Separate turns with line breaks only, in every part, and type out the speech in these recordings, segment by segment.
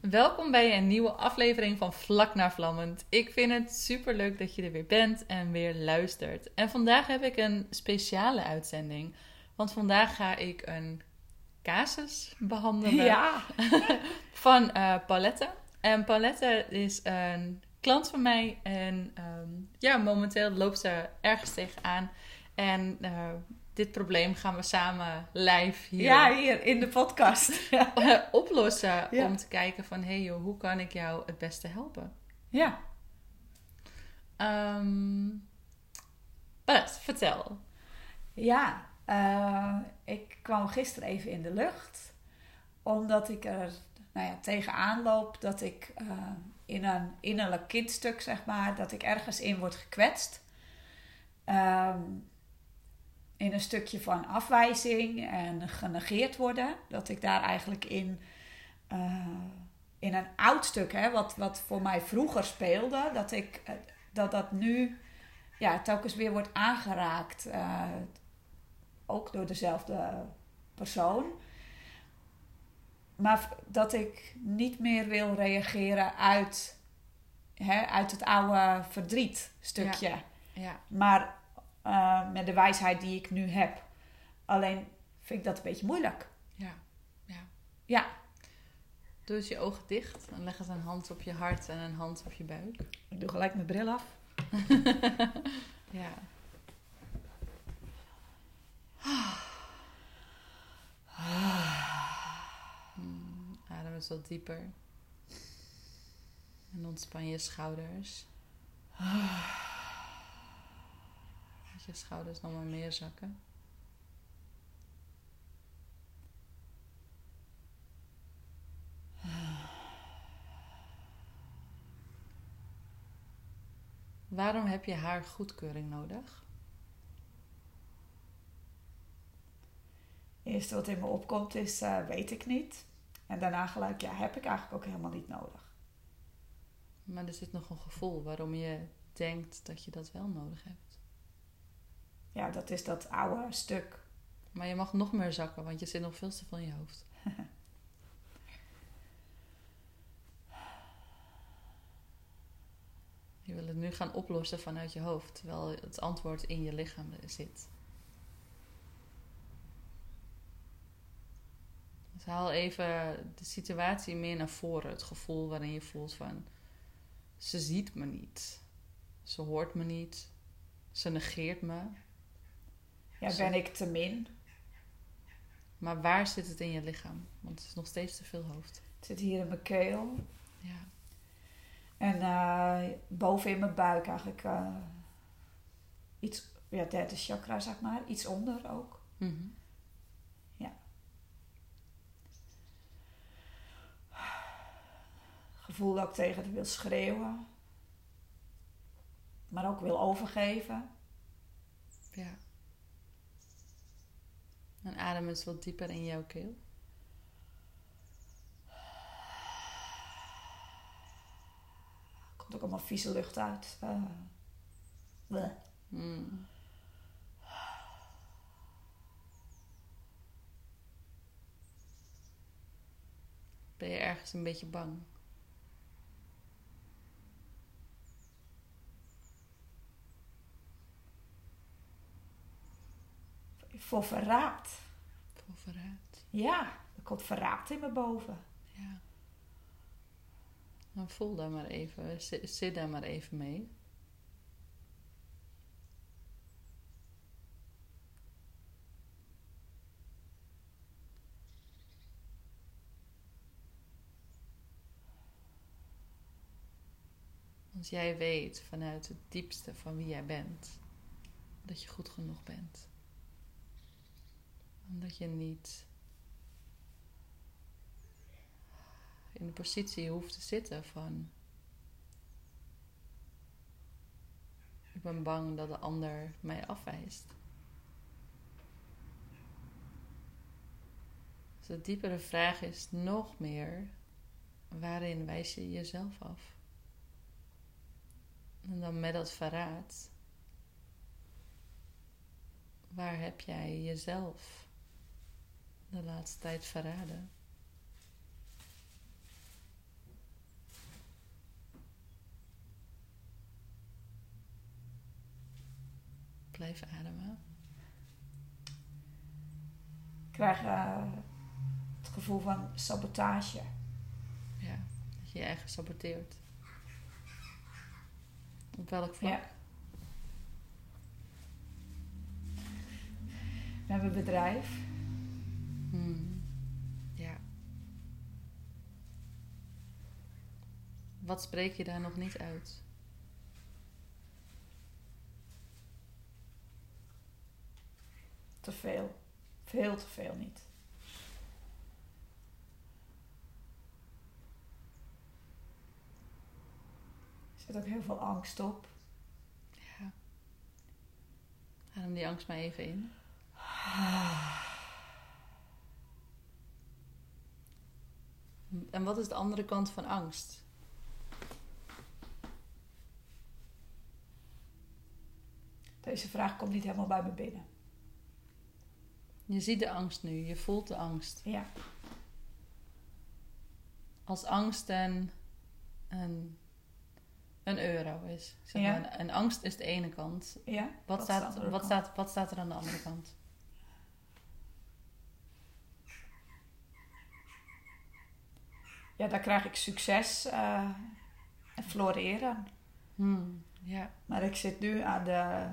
Welkom bij een nieuwe aflevering van Vlak naar Vlammend. Ik vind het super leuk dat je er weer bent en weer luistert. En vandaag heb ik een speciale uitzending. Want vandaag ga ik een casus behandelen
Ja.
van eh Palette. En Palette is een klant van mij. En ehm, ja, momenteel loopt ze ergens tegenaan. En eh, dit probleem gaan we samen live hier
ja, hier in de podcast. Ja.
oplossen.
Ja.
Om te kijken van, hé hey joh, hoe kan ik jou het beste helpen?
ja.
Ehm Bart, vertel.
eh, ik kwam gisteren even in de lucht. Omdat ik er nou ja, tegenaan loop dat ik eh, in een innerlijk kindstuk, zeg maar, dat ik ergens in word gekwetst. Ehm, in een stukje van afwijzing en genegeerd worden. Dat ik daar eigenlijk in, eh, in een oud stuk, hè, wat, wat voor mij vroeger speelde, dat ik, eh, dat, dat nu ja, telkens weer wordt aangeraakt. eh, ook door dezelfde persoon. Maar v- dat ik niet meer wil reageren uit, hè, uit het oude verdriet stukje.
Ja,
Maar eh, met de wijsheid die ik nu heb. Alleen vind ik dat een beetje moeilijk.
ja, ja.
Ja,
Doe eens je ogen dicht en leg eens een hand op je hart en een hand op je buik.
ik doe gelijk mijn bril af.
Ja. Hmm, Adem eens wat dieper. En ontspan je schouders. Laat je schouders nog maar meer zakken. Waarom heb je haar goedkeuring nodig?
Eerste wat in me opkomt is eh, weet ik niet. En daarna gelijk, ja, heb ik eigenlijk ook helemaal niet nodig.
Maar er zit nog een gevoel waarom je denkt dat je dat wel nodig hebt.
Ja, dat is dat oude stuk.
Maar je mag nog meer zakken, want je zit nog veel te veel in je hoofd. Je wil het nu gaan oplossen vanuit je hoofd, terwijl het antwoord in je lichaam zit. Dus haal even de situatie meer naar voren. Het gevoel waarin je voelt van... Ze ziet me niet. Ze hoort me niet. Ze negeert me.
Ja, ben ik te min?
Maar waar zit het in je lichaam? Want het is nog steeds te veel hoofd.
Het zit hier in mijn keel.
Ja.
En eh, boven in mijn buik eigenlijk eh, iets, ja, derde chakra zeg maar, iets onder ook.
Mhm.
Gevoel dat ik tegen het wil schreeuwen, maar ook wil overgeven.
ja. En adem eens wat dieper in jouw keel.
Er komt ook allemaal vieze lucht uit. eh. Bleh.
Mm. Ben je ergens een beetje bang?
Voor verraad.
Voor verraad.
Ja, er komt verraad in me boven.
Ja. Dan voel daar maar even. zi- Zit daar maar even mee. Want jij weet vanuit het diepste van wie jij bent dat je goed genoeg bent. En dat je niet in de positie hoeft te zitten van... Ik ben bang dat de ander mij afwijst. Dus de diepere vraag is nog meer... Waarin wijs je jezelf af? En dan met dat verraad... Waar heb jij jezelf de laatste tijd verraden? blijven ademen.
Ik krijg eh, het gevoel van sabotage.
Ja, dat je je eigen saboteert. Op welk vlak?
Ja. We hebben een bedrijf.
Hmm. Ja. Wat spreek je daar nog niet uit?
Te veel. Veel te veel niet. Er zit ook heel veel angst op.
Ja. Adem die angst maar even in. En wat is de andere kant van angst?
Deze vraag komt niet helemaal bij me binnen.
Je ziet de angst nu, je voelt de angst.
Ja.
Als angst een, een, een euro is. Zeg
Ja.
maar, een angst is de ene kant.
ja?
Wat,
is de
staat,
andere
wat,
kant?
staat, wat staat er aan de andere kant?
Ja, daar krijg ik succes eh, en floreren.
Hmm, Ja.
Maar ik zit nu aan de,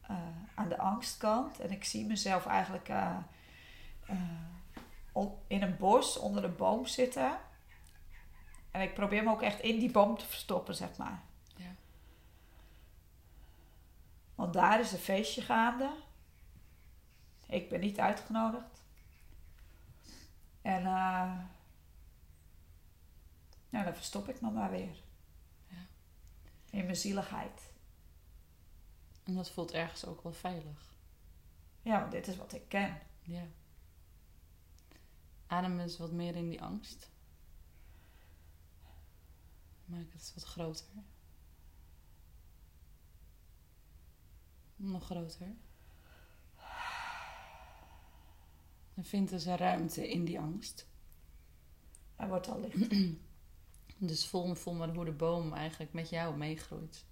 eh, aan de angstkant. En ik zie mezelf eigenlijk eh, eh, on- in een bos onder een boom zitten. En ik probeer me ook echt in die boom te verstoppen, zeg maar.
Ja.
Want daar is een feestje gaande. Ik ben niet uitgenodigd. En eh, nou, dan verstop ik me maar weer.
Ja.
In mijn zieligheid.
En dat voelt ergens ook wel veilig.
Ja, want dit is wat ik ken.
Ja. Adem eens wat meer in die angst. Maak het wat groter. Nog groter. En vind dus een ruimte in die angst.
Hij wordt al licht.
Dus voel, voel maar hoe de boom eigenlijk met jou meegroeit.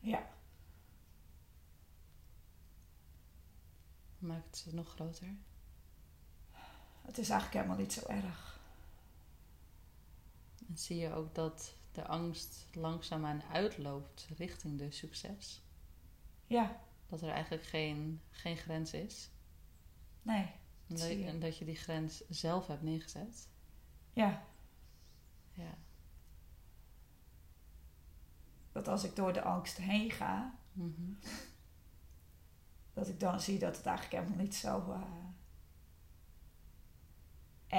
Ja.
Maak het nog groter.
Het is eigenlijk helemaal niet zo erg.
En zie je ook dat de angst langzaamaan uitloopt richting de succes.
Ja,
dat er eigenlijk geen, geen grens is.
nee.
En dat,
Zie je.
en dat je die grens zelf hebt neergezet.
Ja,
Ja.
dat als ik door de angst heen ga,
Mhm.
dat ik dan zie dat het eigenlijk helemaal niet zo eh,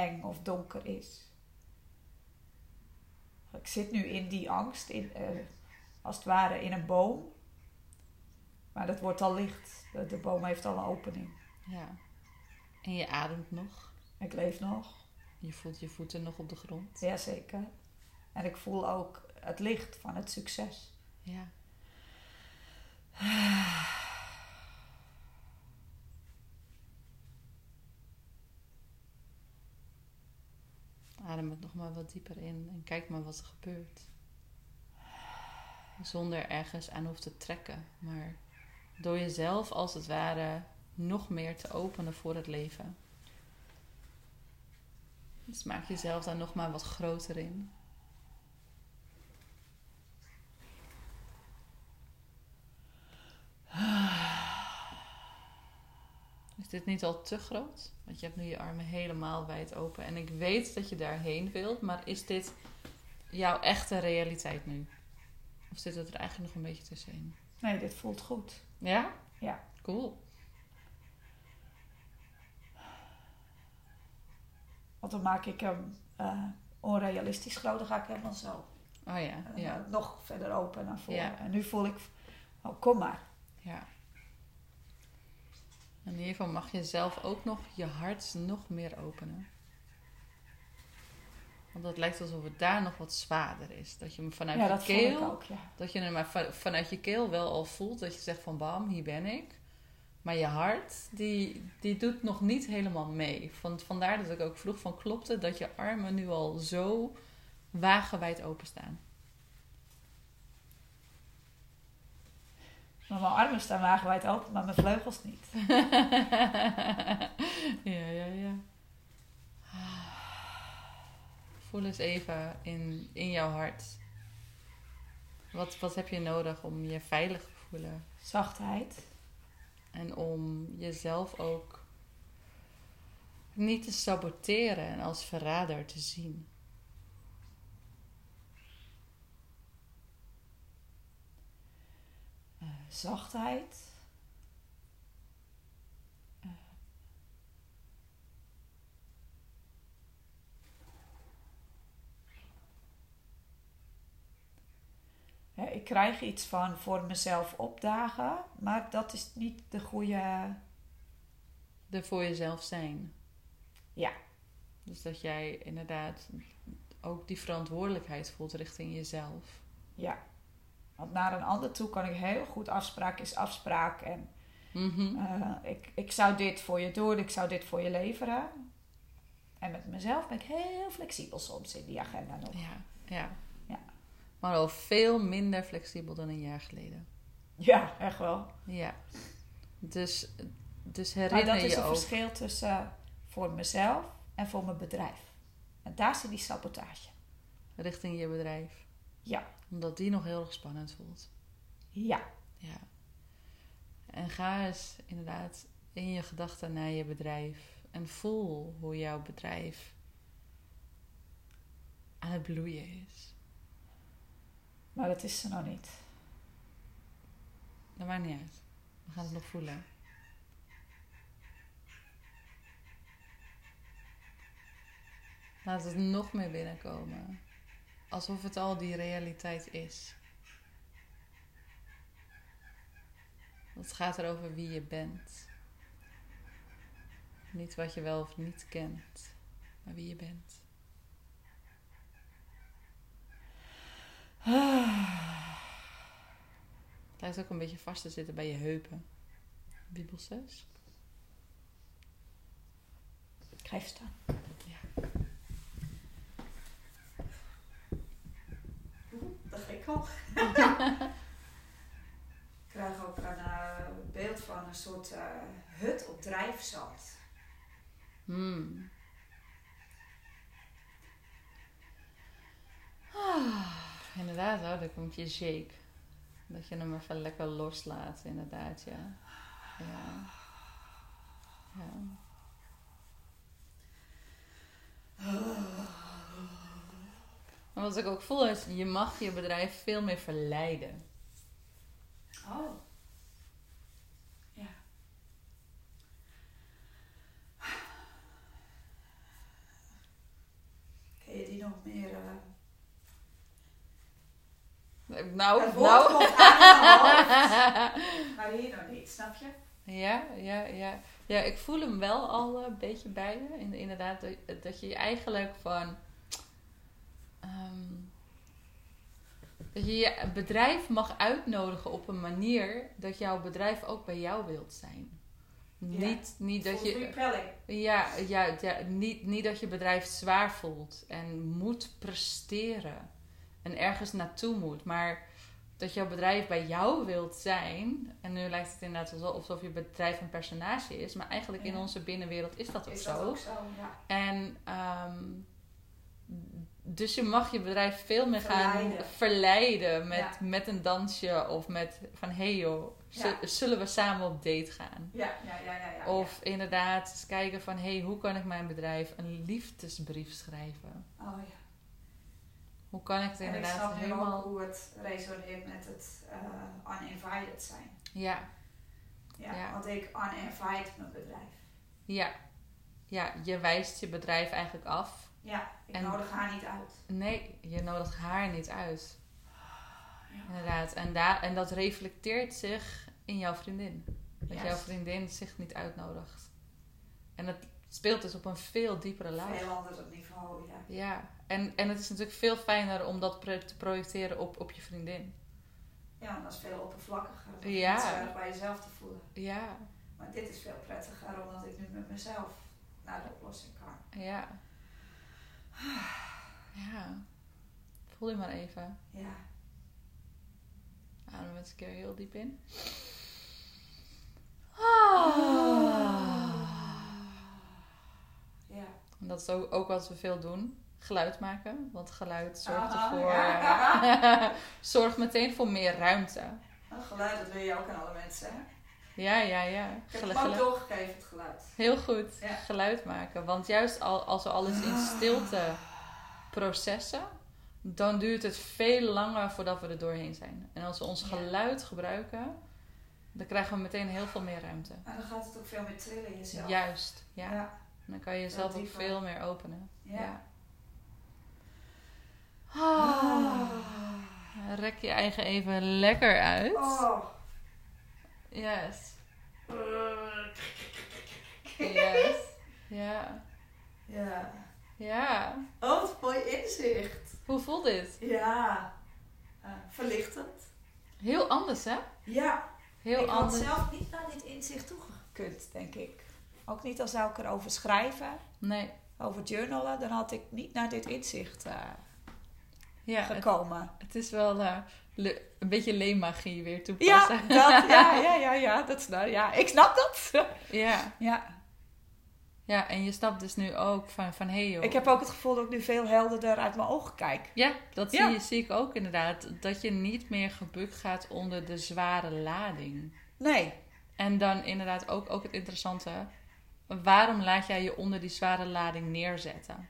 eng of donker is. Ik zit nu in die angst, in, eh, als het ware in een boom. Maar dat wordt al licht. De, de boom heeft al een opening.
ja. En je ademt nog.
Ik leef nog.
Je voelt je voeten nog op de grond.
Jazeker. En ik voel ook het licht van het succes.
Ja. Adem het Ah, nog maar wat dieper in en kijk maar wat er gebeurt. Zonder ergens aan hoeft te trekken, maar door jezelf als het ware nog meer te openen voor het leven. Dus maak jezelf daar nog maar wat groter in. Is dit niet al te groot? Want je hebt nu je armen helemaal wijd open. En ik weet dat je daarheen wilt, maar is dit jouw echte realiteit nu? Of zit het er eigenlijk nog een beetje tussenin?
Nee, dit voelt goed.
Ja?
Ja.
Cool.
Want dan maak ik hem eh, onrealistisch groot. Dan ga ik helemaal zo.
Oh ja,
En dan
ja,
Nog verder open naar voren.
Ja.
En nu voel ik, oh kom maar.
ja. En hiervan mag je zelf ook nog je hart nog meer openen. Want het lijkt alsof het daar nog wat zwaarder is. Dat je hem vanuit
ja,
je Nou,
dat
keel...
voel ik ook. Ja.
Dat je hem maar van- vanuit je keel wel al voelt. Dat je zegt van bam, hier ben ik. Maar je hart, die, die doet nog niet helemaal mee. Van, vandaar dat ik ook vroeg van klopt het dat je armen nu al zo wagenwijd openstaan.
Maar mijn armen staan wagenwijd open, maar mijn vleugels niet.
ja, ja, ja. Voel eens even in, in jouw hart. Wat, wat heb je nodig om je veilig te voelen?
Zachtheid.
En om jezelf ook niet te saboteren en als verrader te zien.
eh, zachtheid. Eh. Ja, ik krijg iets van voor mezelf opdagen, maar dat is niet de goede.
Er voor jezelf zijn.
Ja.
Dus dat jij inderdaad ook die verantwoordelijkheid voelt richting jezelf.
Want naar een ander toe kan ik heel goed afspraak is afspraak en
Mhm.
Eh, ik, ik zou dit voor je doen, ik zou dit voor je leveren. En met mezelf ben ik heel flexibel soms in die agenda nog.
Ja, ja.
Ja.
Maar al veel minder flexibel dan een jaar geleden.
Ja, echt wel.
Ja. Dus, dus
Maar
herinner
dat is
je
het
ook.
verschil tussen voor mezelf en voor mijn bedrijf. En daar zit die sabotage.
richting je bedrijf.
Ja.
Omdat die nog heel erg spannend voelt.
Ja,
Ja. En ga eens inderdaad in je gedachten naar je bedrijf. En voel hoe jouw bedrijf aan het bloeien is.
maar dat is ze nog niet.
Dat maakt niet uit. We gaan het nog voelen. Laat het nog meer binnenkomen. Alsof het al die realiteit is. Het gaat erover wie je bent. Niet wat je wel of niet kent, maar wie je bent. Het lijkt ook een beetje vast te zitten bij je heupen. Bibelsteus?
Ik ga even staan. Dat ga ik al. ik krijg ook een eh, beeld van een soort eh, hut op drijfzand.
Hmm. Ah, inderdaad, oh, daar komt je shake. Dat je hem even lekker loslaat, inderdaad, ja. Ja. ja. Maar wat ik ook voel is, je mag je bedrijf veel meer verleiden.
Oh. Ja. Kun je die nog meer... eh,
Nou, nou.
het woord komt aan mijn hoofd, maar hier nog niet, snap je?
Ja, ja, ja. Ja, ik voel hem wel al eh, een beetje bij je. In- Inderdaad, dat- dat je je eigenlijk van... ehm, dat je je bedrijf mag uitnodigen op een manier dat jouw bedrijf ook bij jou wilt zijn.
Ja.
Niet, niet dat
Voelt
je...
repelling.
Ja, ja, ja niet, niet dat je bedrijf zwaar voelt en moet presteren en ergens naartoe moet, maar dat jouw bedrijf bij jou wilt zijn. En nu lijkt het inderdaad alsof- alsof je bedrijf een personage is, maar eigenlijk in
Ja.
onze binnenwereld is dat ook
Is
zo.
dat ook zo? Ja.
En ehm, dus je mag je bedrijf veel meer gaan verleiden,
Verleiden.
met,
Ja.
met een dansje of met van hey joh, zu-
Ja.
zullen we samen op date gaan?
Ja, ja, ja, ja, Oh, ja.
Of inderdaad eens kijken van... hé, hey, hoe kan ik mijn bedrijf een liefdesbrief schrijven?
ja. Oh ja.
Hoe kan ik het
En ik
inderdaad
snap helemaal
helemaal...
hoe het resoneert met het eh, uninvited zijn.
Ja,
Ja,
Ja.
Want ik uninvite mijn bedrijf.
ja. Ja, je wijst je bedrijf eigenlijk af.
Ja, ik
En-
nodig haar niet uit.
Nee, je nodigt haar niet uit. Inderdaad. En, da en dat reflecteert zich in jouw vriendin. Dat
Juist.
jouw vriendin zich niet uitnodigt. En dat speelt dus op een veel diepere laag.
Veel ander niveau, ja.
Ja. En, en het is natuurlijk veel fijner om dat pro- te projecteren op, op je vriendin.
Ja, dat is veel oppervlakkiger. om
Ja.
Niet zo erg bij jezelf te voelen.
Ja,
Maar dit is veel prettiger omdat ik nu met mezelf naar de oplossing kan.
Ja. Ja. Voel je maar even.
Ja,
Ademen we eens een keer heel diep in. Ah.
Ja.
En Dat is ook, ook wat we veel doen. Geluid maken. Want geluid zorgt
Ah.
Aha,
ervoor...
ja.
eh, zorgt meteen voor meer ruimte.
Dat geluid, dat wil je ook aan alle mensen. Hè?
Ja, ja, ja.
Ik heb
Gelu-
het gewoon
gelu-
doorgegeven, het geluid.
Heel goed.
Ja.
Geluid maken. Want juist al, als we alles in stilte processen... dan duurt het veel langer voordat we er doorheen zijn. En als we ons
Ja.
geluid gebruiken... dan krijgen we meteen heel veel meer ruimte.
En dan gaat het ook veel meer trillen in jezelf.
Juist. Ja.
ja.
En Dan kan je jezelf ook
dieper.
veel meer openen.
ja.
Ah. Rek je eigen even lekker uit.
Oh.
Yes. Yes. Ja.
Ja.
Ja.
Oh, wat een mooi inzicht.
Hoe voelt dit?
Ja. Eh, verlichtend.
Heel anders, hè?
Ja.
Heel
ik had
anders.
zelf niet naar dit inzicht toegekund, denk ik. Ook niet als zou ik erover schrijven,
Nee.
over journalen, dan had ik niet naar dit inzicht eh,
Ja, het,
gekomen.
het is wel eh, le- een beetje leemagie weer
Ja,
toepassen.
dat, ja, ja, ja, ja, dat snap ja, ik. snap dat.
ja.
Ja.
Ja, en je snapt dus nu ook van, van hey joh.
Ik heb ook het gevoel dat ik nu veel helderder uit mijn ogen kijk.
Ja, dat
Ja.
Zie, je, zie ik ook inderdaad. Dat je niet meer gebukt gaat onder de zware lading.
Nee,
En dan inderdaad ook, ook het interessante. Waarom laat jij je onder die zware lading neerzetten?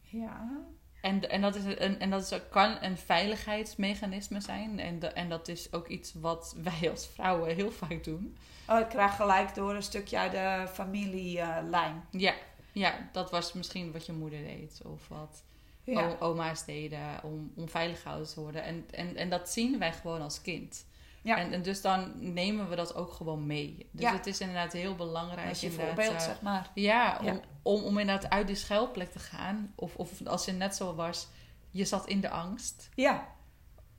Ja.
En, en dat, is een, en dat is, kan een veiligheidsmechanisme zijn. En, da- en dat is ook iets wat wij als vrouwen heel vaak doen.
Oh, ik krijg gelijk door een stukje uit de familielijn.
Ja, ja dat was misschien wat je moeder deed. Of wat
Oh,
o- oma's deden om, om veilig gehouden te worden. En, en, en dat zien wij gewoon als kind.
Ja.
En, en dus dan nemen we dat ook gewoon mee. Dus
Ja.
het is inderdaad heel belangrijk.
Als je
inderdaad,
voorbeeld,
eh,
zeg maar.
Ja, om,
Ja.
Om, om inderdaad uit die schuilplek te gaan. Of, of als je net zo was, je zat in de angst,
Ja.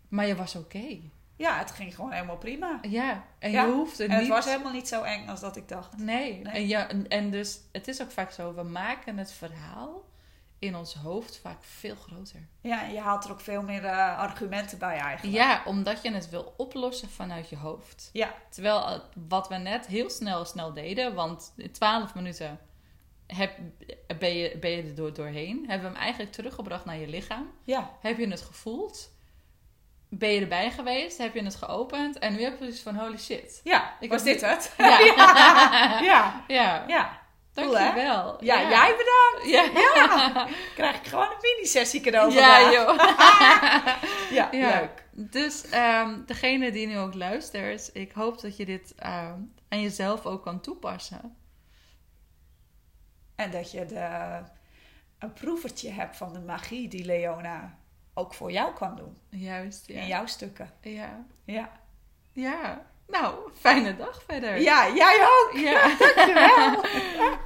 maar je was oké.
ja, het ging gewoon helemaal prima.
Ja, en
Ja,
je hoeft het
En het
niet...
was helemaal niet zo eng als dat ik dacht.
Nee,
Nee.
En, ja, en, en dus het is ook vaak zo, we maken het verhaal in ons hoofd vaak veel groter.
Ja, en je haalt er ook veel meer eh, argumenten bij eigenlijk.
Ja, omdat je het wil oplossen vanuit je hoofd.
Ja.
Terwijl eh, wat we net heel snel snel deden, want in 12 minuten heb, ben, je, ben je er door, doorheen, hebben we hem eigenlijk teruggebracht naar je lichaam.
Ja.
Heb je het gevoeld? Ben je erbij geweest? Heb je het geopend? En nu heb je zoiets van holy shit.
Ja,
Ik
was
heb-
dit het?
Ja.
ja. ja.
Ja,
Ja. Cool, hè?
dankjewel.
Ja, jij bedankt.
Ja,
Ja. Krijg ik gewoon een mini-sessie cadeau
ja
vandaag.
joh.
Ja,
Ja.
leuk.
Dus ehm, degene die nu ook luistert, ik hoop dat je dit ehm, aan jezelf ook kan toepassen.
En dat je de, een proevertje hebt van de magie die Leona ook voor jou kan doen.
Juist, ja.
In jouw stukken.
Ja.
Ja.
Ja. Nou, fijne dag verder.
Ja, jij ook.
Ja.
Dankjewel.